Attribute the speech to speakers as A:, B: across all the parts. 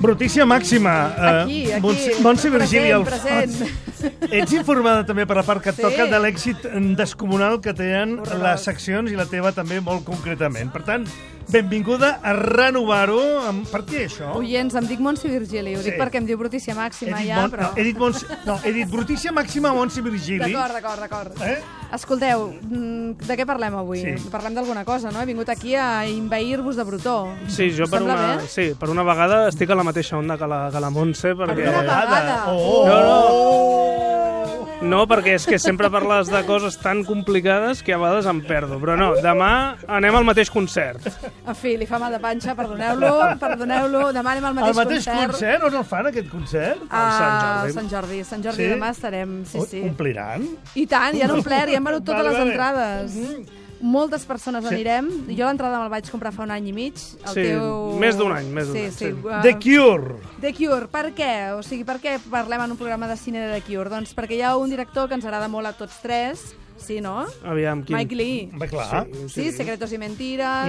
A: Brutícia màxima. Eh,
B: Aquí, aquí.
A: Montse, Montse Virgili, al
B: Present,
A: fons. Ets informada també per la part que et
B: Sí.
A: toca de l'èxit descomunal que tenen
B: Horrorós.
A: les seccions i la teva també molt concretament. Per tant, benvinguda a renovar-ho. Amb... Per què això?
B: Oients, em dic Montse Virgili, ho dic
A: Sí.
B: perquè em diu brutícia màxima
A: dit,
B: ja,
A: Mon-
B: però...
A: no, he dit, Montse... no, he dit Brutícia màxima Montse Virgili.
B: D'acord, d'acord, d'acord.
A: Eh?
B: Escolteu, mm, de què parlem avui?
A: Sí.
B: Parlem d'alguna cosa, no? He vingut aquí a inveir-vos de brutó.
C: Sí, jo per
B: Sembla
C: una,
B: bé?
C: sí, per una vegada estic a la mateixa onda que la, que la Montse, perquè...
B: una vegada. Oh.
A: Oh!
C: No,
A: no.
C: No, perquè és que sempre parles de coses tan complicades que a vegades em perdo. Però no, demà anem al mateix concert.
B: En fi, li fa mal de panxa, perdoneu-lo, perdoneu-lo. Demà anem al
A: El
B: mateix,
A: mateix concert, concert on el fan, aquest concert?
B: A Sant
C: Jordi.
B: Jordi. Sant Jordi, Sant Jordi
A: Sí? Oh,
B: demà estarem, sí, sí.
A: Ompliran?
B: I tant, ja no omplert, ja hem venut totes
A: Vale,
B: les
A: vale. Mhm.
B: entrades. Moltes persones
A: Sí.
B: anirem. Jo l'entrada me'l vaig comprar fa un any i mig. El
C: Sí,
B: teu...
C: més d'un any, més d'un
B: sí,
C: any,
B: Sí,
C: sí.
B: Uh,
A: The Cure.
B: The Cure, per què? O sigui, per què parlem en un programa de cine de The Cure? Doncs perquè hi ha un director que ens agrada molt a tots tres, sí, no?
C: Aviam, quin...
B: Mike Lee.
A: Home, clar. Sí.
B: Sí, Secretos i Mentires.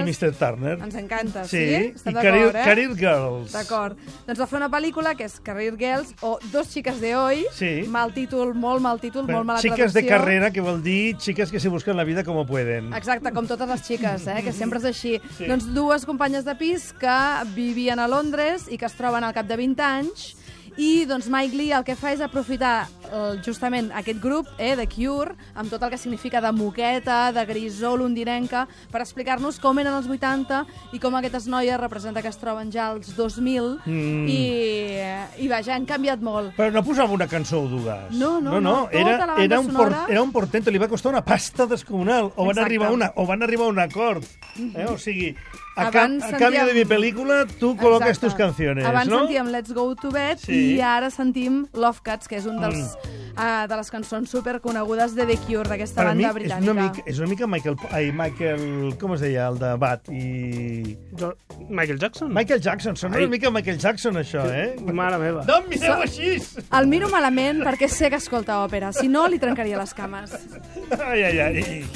A: I Mr. Turner.
B: Ens encanta,
A: Sí,
B: sí?
A: i
B: Estem
A: Career,
B: d'acord, eh?
A: Career Girls.
B: D'acord. Doncs va fer una pel·lícula que és Career Girls o Dos xiques de hoy.
A: Sí.
B: Mal títol, molt mal títol,
A: Bé,
B: molt mala
A: Xiques
B: traducció.
A: de carrera, que vol dir xiques que se busquen la vida com pueden.
B: Exacte, com totes les xiques, eh? que sempre és així. Mm. Sí. Doncs dues companyes de pis que vivien a Londres i que es troben al cap de 20 anys i doncs Mike Lee el que fa és aprofitar eh, justament aquest grup eh, de Cure, amb tot el que significa de moqueta, de grisó londinenca, per explicar-nos com eren els 80 i com aquestes noies representa que es troben ja als 2000 mm. i, i vaja, han canviat molt.
A: Però no posava una cançó o dues.
B: No, no,
A: no,
B: no,
A: no.
B: tota la
A: Era,
B: banda
A: era, un
B: sonora.
A: era un portento, li va costar una pasta descomunal. O van,
B: Exacte.
A: arribar a una, o van arribar a un acord. Eh? O sigui, a, ca
B: Abans
A: a canvi de
B: sentíem-
A: mi pel·lícula, tu col·loques
B: Exacte.
A: tus canciones,
B: Abans
A: no?
B: sentíem Let's Go to Bed
A: Sí. Mm.
B: i ara sentim Love Cats, que és un dels, uh, de les cançons superconegudes de The Cure, d'aquesta
A: Per mi
B: banda
A: és
B: britànica.
A: una, mica, és una mica Michael... Ai, Michael... Com es deia? El de Bat i...
C: Jo... Michael Jackson?
A: Michael Jackson. Sona
C: Ai.
A: una mica Michael Jackson, això, eh?
C: Mare meva.
A: No em mireu així!
B: El miro malament perquè sé que escolta òpera, si no li trencaria les cames.
A: Ai, ai, ai.
C: I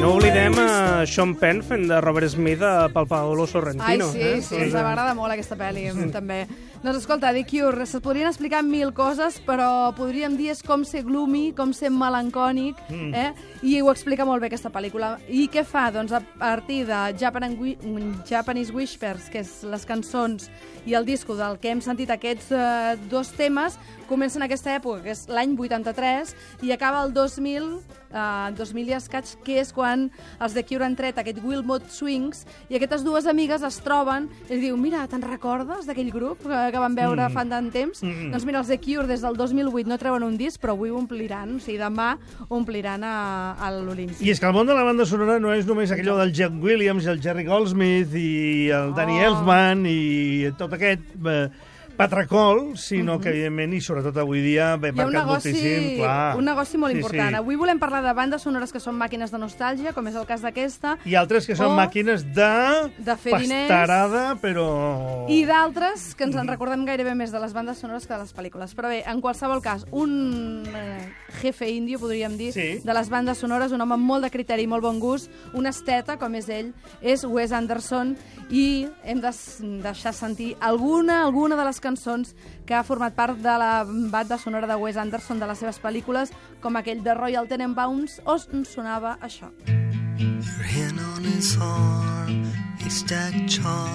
C: no oblidem a Sean Penn fent de Robert Smith a pel Paolo
B: Ai,
C: Sorrentino.
B: sí,
C: eh?
B: sí, ens m'agrada molt aquesta pel·li, també. Doncs escolta, The Cure, se podrien explicar mil coses, però podríem dir és com ser gloomy, com ser melancònic, eh? i ho explica molt bé aquesta pel·lícula. I què fa? Doncs a partir de Japan and Wi- mm, Japanese Whispers, que és les cançons i el disco del que hem sentit aquests eh, dos temes, comencen aquesta època, que és l'any 83, i acaba el 2000, eh, 2000 i escaig, que és quan els de Cure han tret aquest Wilmot Swings, i aquestes dues amigues es troben i li diu, mira, te'n recordes d'aquell grup que, que vam veure mm. fa tant temps?
A: Mm-hmm.
B: Mm. Doncs mira, els de Cure des del 2008 no treuen un disc, però avui ho ompliran, o sigui, demà ho ompliran a, a l'Olímpic.
A: I és que el món de la banda sonora no és només aquell del Jack Williams i el Jerry Goldsmith i el Danny
B: Oh.
A: Elfman i tot aquest eh, patracol, sinó que, evidentment, i sobretot avui dia, ve
B: Mhm. Hi ha un
A: marcat
B: negoci,
A: moltíssim, clar.
B: un negoci molt
A: Sí,
B: important.
A: sí.
B: Avui volem parlar de bandes sonores que són màquines de nostàlgia, com és el cas d'aquesta,
A: I altres que són
B: O
A: màquines de...
B: Oh. de fer diners.
A: Pastarada, però...
B: I d'altres que ens en recordem gairebé més de les bandes sonores que de les pel·lícules. Però bé, en qualsevol cas, un eh, jefe índio, podríem dir,
A: Sí.
B: de les bandes sonores, un home amb molt de criteri i molt bon gust, un esteta, com és ell, és Wes Anderson, i hem de s- deixar sentir alguna, alguna de les cançons que ha format part de la banda sonora de Wes Anderson de les seves pel·lícules, com aquell de Royal Tenenbaums, on sonava això.
D: Her hand on his arm, haystack charm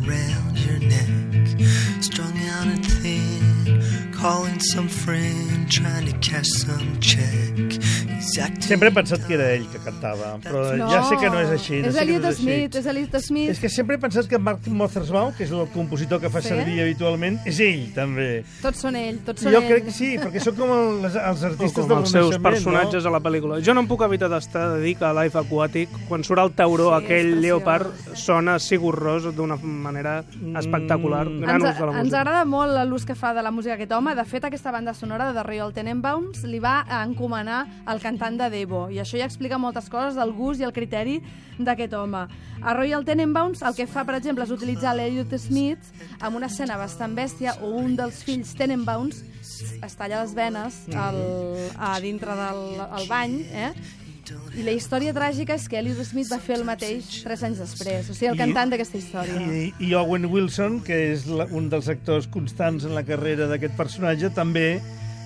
D: around your neck, strung out and thin, calling some friend, trying to cash some check. He's acting
A: Sempre he pensat que era ell que cantava, però ja sé que no és així. ja
B: És
A: sé que
B: Elliot
A: no
B: Smith,
A: Així.
B: és Elliot Smith.
A: És que sempre he pensat que Mark Mothersbaugh, que és el compositor que fa
B: Sí?
A: servir habitualment, és ell, també.
B: Tots són ell, tots són
A: Jo
B: ell.
A: crec que sí, perquè són com el- les, els
C: O
A: artistes
C: com
A: del
C: els seus
A: Renaixement,
C: personatges
A: No?
C: a la pel·lícula. Jo no em puc evitar d'estar de dir que a Life Aquatic, quan surt el tauró,
B: Sí, és
C: aquell
B: preciós.
C: lleopard sona Sigur Ros d'una manera
A: Mm.
C: espectacular. Gran ús
B: Ens,
C: de la
B: ens
C: música.
B: agrada molt l'ús que fa de la música aquest home. De fet, aquesta banda sonora de Royal Tenenbaums li va encomanar el cantant de Devo. I això ja explica moltes coses del gust i el criteri d'aquest home. A Royal Tenenbaums el que fa, per exemple, és utilitzar l'Elliot Smith amb una escena bastant bèstia o un dels fills
C: Mm.
B: Tenenbaums es talla les venes al, a dintre del al bany, eh? I la història tràgica és que Elliot Smith va fer el mateix tres anys després. O sigui, el
A: I-
B: cantant d'aquesta història.
A: I, I Owen Wilson, que és la, un dels actors constants en la carrera d'aquest personatge, també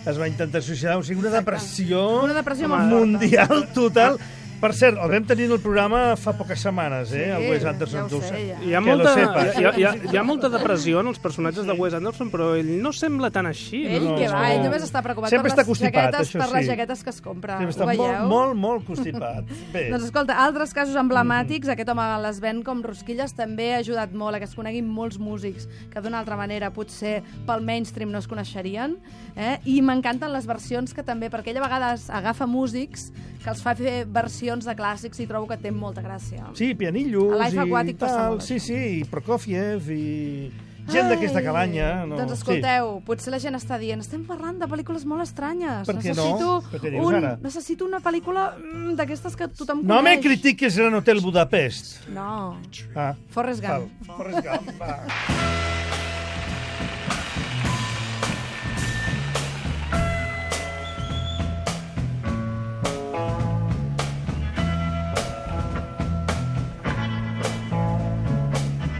A: es va intentar suïcidar. O sigui, una depressió,
B: Una depressió molt forta.
A: mundial total. Per cert, el vam tenir en el programa fa poques setmanes, eh?
B: Sí,
A: el Wes Anderson,
B: ja ho
A: tu
B: sé,
A: saps.
B: ja.
C: Hi ha,
A: Que lo
C: molta,
A: sepas.
C: hi, ha, hi, ha, hi ha molta depressió en els personatges de Wes Anderson, però ell no sembla tan així.
B: Ell
A: no,
B: que va,
A: no.
B: ell només està preocupat
A: Sempre
B: per
A: està
B: les
A: constipat,
B: jaquetes,
A: això
B: per les
A: sí.
B: jaquetes que es compra.
A: Sempre
B: Ho
A: està
B: veieu?
A: molt, molt, molt constipat. Bé,
B: Doncs escolta, altres casos emblemàtics, aquest home les ven com rosquilles, també ha ajudat molt a que es coneguin molts músics que d'una altra manera potser pel mainstream no es coneixerien. Eh? I m'encanten les versions que també, perquè ella a vegades agafa músics que els fa fer versions de clàssics i trobo que té molta gràcia.
A: sí, pianillos
B: a Life
A: i
B: Aquatic passa
A: tal.
B: molt.
A: Sí, sí, i Prokofiev i gent
B: Ai,
A: d'aquesta calanya. No?
B: Doncs escolteu, sí. potser la gent està dient estem parlant de pel·lícules molt estranyes.
A: Per què no?
B: necessito
A: Per què dius
B: un,
A: ara?
B: Necessito una pel·lícula mm, d'aquestes que tothom
A: Sí. No me
B: coneix.
A: critiques Gran Hotel Budapest.
B: No,
A: Ah,
B: Forrest
A: val.
B: Gump.
A: Forrest Gump, va.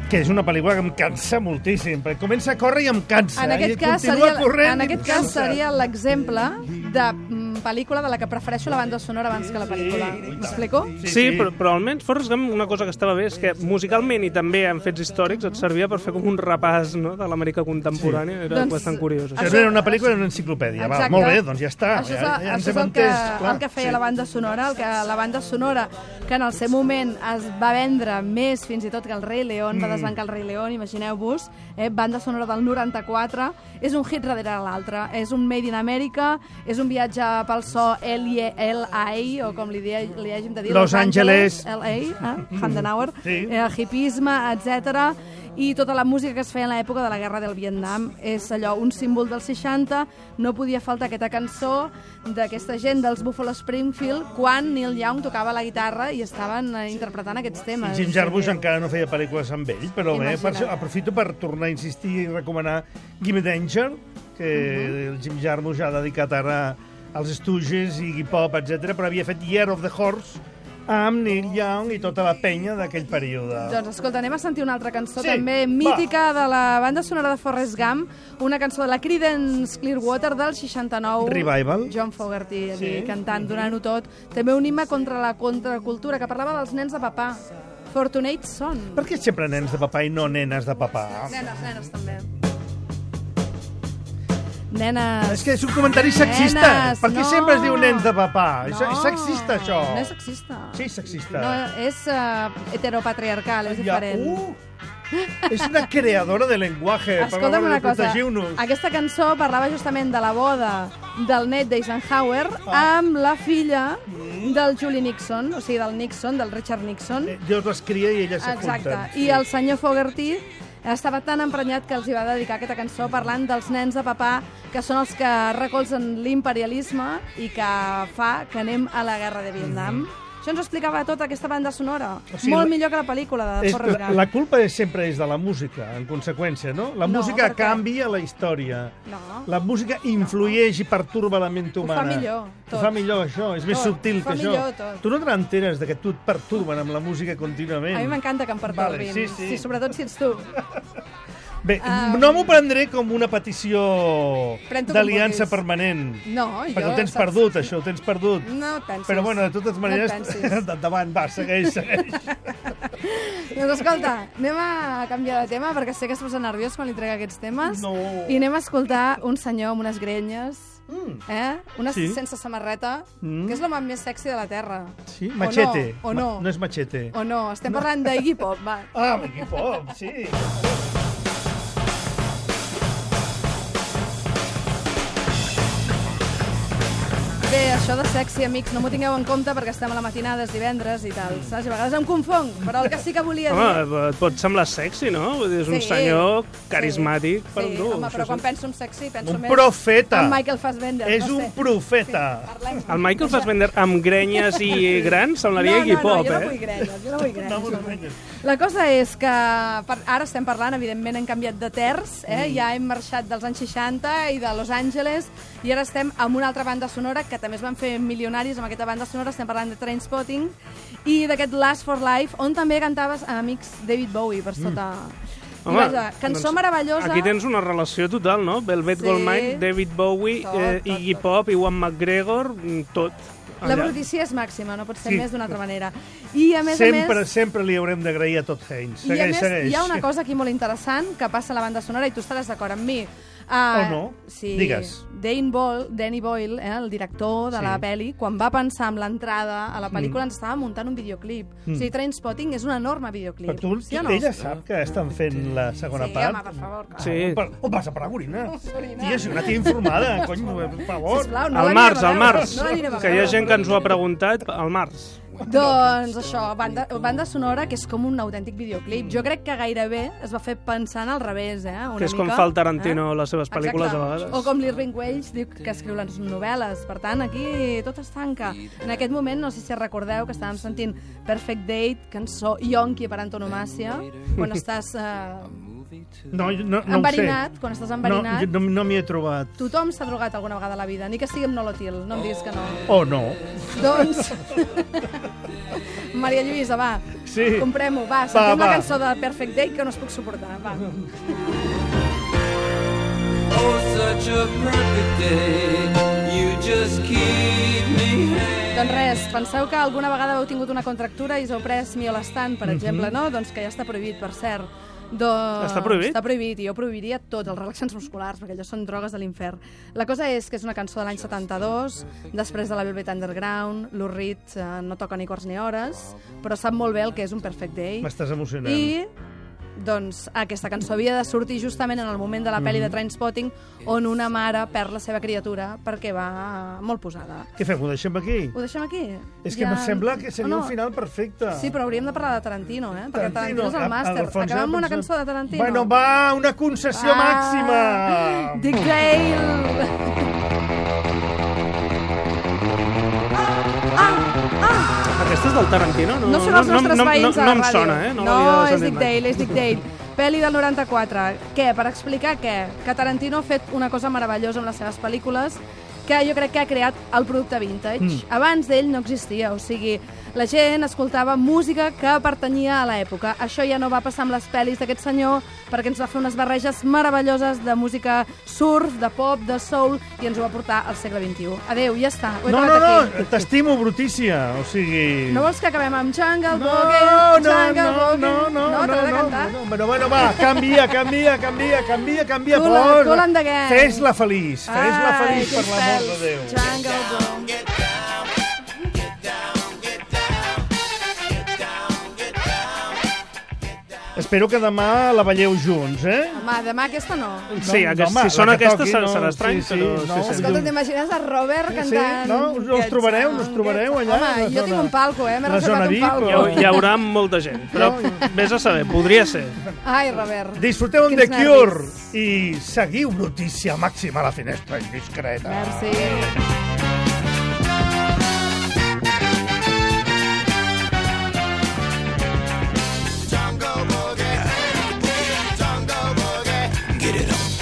A: que és una pel·lícula que em cansa moltíssim, perquè comença a córrer i em cansa. eh,
B: En
A: i
B: aquest cas
A: continua
B: seria,
A: corrent
B: en
A: i
B: aquest
A: em
B: cas
A: cansa.
B: seria l'exemple de mm, pel·lícula de la que prefereixo la banda sonora abans que la pel·lícula. M'explico?
C: Sí, sí, però, però almenys Forrest Gump una cosa que estava bé és que musicalment i també en fets històrics et servia per fer com un repàs no, de l'Amèrica contemporània, sí. era
B: Doncs-
C: doncs, bastant curiós.
A: Això
C: Això.
A: no era una pel·lícula, era una enciclopèdia. Va, molt bé, doncs ja està.
B: Això és,
A: ja,
B: la,
A: ja ens
B: això és
A: hem
B: el, que,
A: entès, clar.
B: el que feia sí. la banda sonora, el que la banda sonora que en el seu moment es va vendre més fins i tot que el Rei León, mm. va desbancar el Rei León, imagineu-vos, eh, banda sonora del 94, és un hit darrere de l'altre, és un Made in America, és un viatge pel so E LA, o com li, dia, li hàgim de dir,
A: Los Angeles.
B: LA, eh? Handenauer,
A: Sí.
B: sí. eh, hipisme, etc i tota la música que es feia en l'època de la guerra del Vietnam és allò, un símbol del 60, no podia faltar aquesta cançó d'aquesta gent dels Buffalo Springfield quan Neil Young tocava la guitarra i estaven eh, interpretant aquests temes.
A: Jim Jarmusch encara no feia pel·lícules amb ell, però bé,
B: Imagina't.
A: per això aprofito per tornar a insistir i recomanar Gimme Danger, que
B: Mhm.
A: el Jim Jarmusch ha dedicat ara als Stooges, Iggy Pop, etc. però havia fet Year of the Horse amb Neil Young i tota la penya d'aquell període.
B: Doncs escolta, anem a sentir una altra cançó
A: Sí,
B: sí,
A: va.
B: també mítica de la banda sonora de Forrest Gump, una cançó de la Creedence Clearwater del 69.
A: Revival.
B: John Fogerty sí.
A: Sí.
B: cantant, donant-ho tot. També un himne contra la contracultura, que parlava dels nens de papà. Fortunate Son.
A: Per què sempre nens de papà i no nenes de papà?
B: Nenes, nenes també. Nenes.
A: És que és un comentari sexista.
B: Nenes,
A: per què
B: no.
A: sempre es diu nens de papà? No. És sexista, això.
B: No és sexista.
A: Sí, sexista.
B: No, és uh, heteropatriarcal, és
A: Ja,
B: diferent.
A: uh, és una creadora de lenguatge. per
B: Escolta'm
A: favor,
B: una cosa,
A: protegiu-nos.
B: aquesta cançó parlava justament de la boda del net d'Eisenhower
A: Ah.
B: amb la filla del Julie Nixon, o sigui, del Nixon, del Richard Nixon.
A: Eh, Déu les cria i elles
B: Exacte.
A: s'apunten.
B: I el senyor Fogerty estava tan emprenyat que els hi va dedicar aquesta cançó parlant dels nens de papà que són els que recolzen l'imperialisme i que fa que anem a la guerra de Vietnam. Això ens ho explicava tota aquesta banda sonora.
A: Mhm. O sigui,
B: Molt
A: la-
B: millor que la pel·lícula de
A: És,
B: Forrest
A: la,
B: Gump.
A: la culpa és, sempre és de la música, en conseqüència, no? La
B: No,
A: música
B: perquè-
A: canvia la història.
B: No.
A: La música influeix i perturba la ment humana.
B: millor,
A: Ho
B: tot.
A: fa millor, això. És més
B: Tot.
A: subtil
B: Ho fa
A: que això.
B: millor, tot.
A: Tu no t'enteres de que tu et perturben amb la música contínuament.
B: A mi m'encanta que em pertorbin.
A: Vale, sí, sí.
B: sí, sobretot si ets tu.
A: Bé,
B: Ah.
A: no m'ho prendré com una petició
B: Pren-t'ho com
A: d'aliança
B: vulguis.
A: permanent.
B: No, jo,
A: Perquè ho tens
B: saps?
A: perdut, això, ho tens perdut.
B: No et pensis.
A: Però, bueno, de totes maneres...
B: No et pensis.
A: Endavant, va, segueix, segueix.
B: Doncs escolta, anem a canviar de tema perquè sé que es posa nerviós quan li trec aquests temes.
A: No.
B: I anem a escoltar un senyor amb unes grenyes, mm. eh? Una
A: Sí.
B: sí. sense samarreta,
A: Mm.
B: mm. que és l'home més sexy de la Terra.
A: Sí, machete.
B: O no,
A: Ma-
B: o
A: no
B: no.
A: és machete.
B: O no, estem parlant d'Iggy Pop, va.
A: Ah, Iggy Pop, sí.
B: Bé, això de sexy, amics, no m'ho tingueu en compte perquè estem a la matinada, és divendres i
A: Mm.
B: tal, saps? I a vegades em confong, però el que sí que volia dir...
C: Home, et pot semblar sexy, no? Vull dir, és un
B: Sí,
C: senyor
B: sí.
C: carismàtic
B: sí,
C: per un tu.
B: home,
C: això
B: però
C: sí.
B: quan penso en sexy, penso
A: Un
B: més...
A: profeta.
B: En Michael Fassbender,
A: És
B: no sé.
A: un profeta.
B: Parlem...
C: El Michael Fassbender amb grenyes i grans semblaria
B: no,
C: Iggy
B: no,
C: Pop,
B: no, jo no vull
C: eh?
B: grenyes, jo no vull grenyes.
A: No vull grenyes.
B: La cosa és que per, ara estem parlant, evidentment hem canviat de terç,
C: Mm.
B: eh? ja hem marxat dels anys 60 i de Los Angeles, i ara estem amb una altra banda sonora que que també es van fer milionaris amb aquesta banda sonora, estem parlant de Trainspotting, i d'aquest Last for Life, on també cantaves amb amics David Bowie per sota... Mm. I
C: Home,
B: vaja, cançó
C: doncs
B: meravellosa.
C: Aquí tens una relació total, no? Velvet
B: Sí.
C: Goldmine, David Bowie,
B: Tot,
C: eh,
B: tot,
C: Iggy
B: tot.
C: Pop, Iwan McGregor, mm, tot.
B: La
C: allà.
B: brutícia és màxima, no pot ser
A: Sí.
B: més d'una altra manera. I a més
A: sempre,
B: a més...
A: sempre li haurem d'agrair a Todd Haynes.
B: I a
A: Segueix,
B: més,
A: segueix.
B: hi ha una cosa aquí molt interessant que passa a la banda sonora i tu estaràs d'acord amb mi. Uh,
A: O no.
B: Sí,
A: Digues.
B: Dane Boyle, Danny Boyle, eh, el director de
A: Sí.
B: sí. la pel·li, quan va pensar en l'entrada a la pel·lícula mm. ens estava muntant un videoclip. Mm. O sigui, Trainspotting és un enorme videoclip.
A: Però tu,
B: sí o no?
A: ella sap que estan fent la segona
B: sí,
A: part.
B: home, per favor. clar.
C: Sí.
A: Per, on vas a parar, Gorina?
B: Gorina.
A: Tia, si una tia informada, cony, per favor.
B: Sisplau, no
C: Al
B: l'anirem a
C: març, al
B: veure,
C: març,
B: No l'anirem a
C: que hi ha
B: veure.
C: gent que ens ho ha preguntat, al març.
B: Doncs això, banda, banda sonora que és com un autèntic videoclip. Jo crec que gairebé es va fer pensant al revés, eh? Una
C: Que és
B: mica, Eh?
C: com fa el Tarantino les seves pel·lícules
B: Exacte.
C: a vegades.
B: O com l'Irving Welsh diu que escriu les novel·les. Per tant, aquí tot es tanca. En aquest moment, no sé si recordeu que estàvem sentint Perfect Date, cançó Yonki per antonomàcia, quan estàs eh,
A: No, jo no, no ho sé.
B: enverinat, quan estàs
A: No,
B: enverinat.
A: jo no, no m'hi he trobat.
B: Tothom s'ha drogat alguna vegada a la vida, ni que sigui amb nolotil, no em diguis que no.
A: O no.
B: Doncs... Maria Lluïsa, va.
A: Sí.
B: Comprem-ho, va. Sentim
A: va.
B: la cançó de Perfect Day que no es puc suportar, va.
E: Oh, such a perfect day. You just keep me hanging.
B: Doncs res, penseu que alguna vegada heu tingut una contractura i us heu pres miolastant, per exemple, no? Doncs que ja està prohibit, per cert. Doncs,
C: Està prohibit?
B: Està prohibit, i jo prohibiria tot, els relaxants musculars, perquè allò són drogues de l'infern. La cosa és que és una cançó de l'any 72, després de la Velvet Underground, Lou Reed eh, no toca ni quarts ni hores, però sap molt bé el que és un Perfect Day.
A: M'estàs emocionant.
B: I doncs aquesta cançó havia de sortir justament en el moment de la pel·li
A: Mhm.
B: de Trainspotting on una mare perd la seva criatura perquè va molt posada.
A: Què fem, ho deixem aquí?
B: Ho deixem aquí? Oh,
A: És que em sembla que seria un final perfecte.
B: Sí, però hauríem de parlar de Tarantino, eh? Perquè Tarantino, és
A: a-
B: el màster.
A: Alfonso
B: Acabem amb una
A: Alfonso.
B: cançó de Tarantino.
A: Bueno, va, una concessió
B: Va.
A: màxima.
B: Dick Dale!
C: Aquesta és del Tarantino? No,
B: No són els nostres
C: no, no,
B: veïns
C: no,
B: a la
C: no em
B: ràdio.
C: sona, eh?
B: No,
C: l'havia
B: és
C: sentit
B: Dick
C: mai.
B: Dale, és Dick Dale. Pel·li del 94. Què? Per explicar què? Que Tarantino ha fet una cosa meravellosa amb les seves pel·lícules que jo crec que ha creat el producte vintage. Mm. Abans d'ell no existia, o sigui, la gent escoltava música que pertanyia a l'època. Això ja no va passar amb les pel·lis d'aquest senyor, perquè ens va fer unes barreges meravelloses de música surf, de pop, de soul, i ens ho va portar al segle XXI. Adéu, ja està. Ho he
A: No, no,
B: acabat aquí.
A: no, t'estimo, brutícia. O sigui...
B: No vols que acabem amb
A: No,
B: Jungle Boogie?
A: no,
B: Jungle
A: no,
B: Boogie?
A: no, no, no,
B: no, t'ha de
A: no,
B: cantar?
A: no, bueno, bueno, va, canvia, canvia, canvia, canvia, canvia,
B: Cool and-
A: posa.
B: cool and the gang.
A: Fes-la feliç, fes-la
B: Ai,
A: feliç, per
B: quins
A: l'amor de
B: pèls.
A: Déu.
B: Jungle Boogie.
A: Espero que demà la veieu junts, eh?
B: Home, demà aquesta no.
C: Sí,
A: No,
C: aquest,
A: home, la
C: si són
A: que
C: aquestes
A: toqui,
C: serà,
A: no,
C: serà estrany,
A: sí, sí,
C: però...
A: no,
C: sí,
A: escolta,
B: Escolta,
A: Diu-
B: t'imagines a Robert cantant?
A: sí, no? Us- us trobareu, us trobareu allà, a
B: Home,
A: la
B: jo
A: zona-
B: tinc un palco, eh? M'he
A: la zona
B: reservat un
A: VIP,
B: palco.
C: Hi, hau- hi haurà molta gent, però vés a saber, podria ser.
B: Ai, Robert.
A: Disfruteu amb The
B: Quins
A: Cure
B: nervis.
A: i seguiu notícia màxima a la finestra indiscreta.
B: Merci.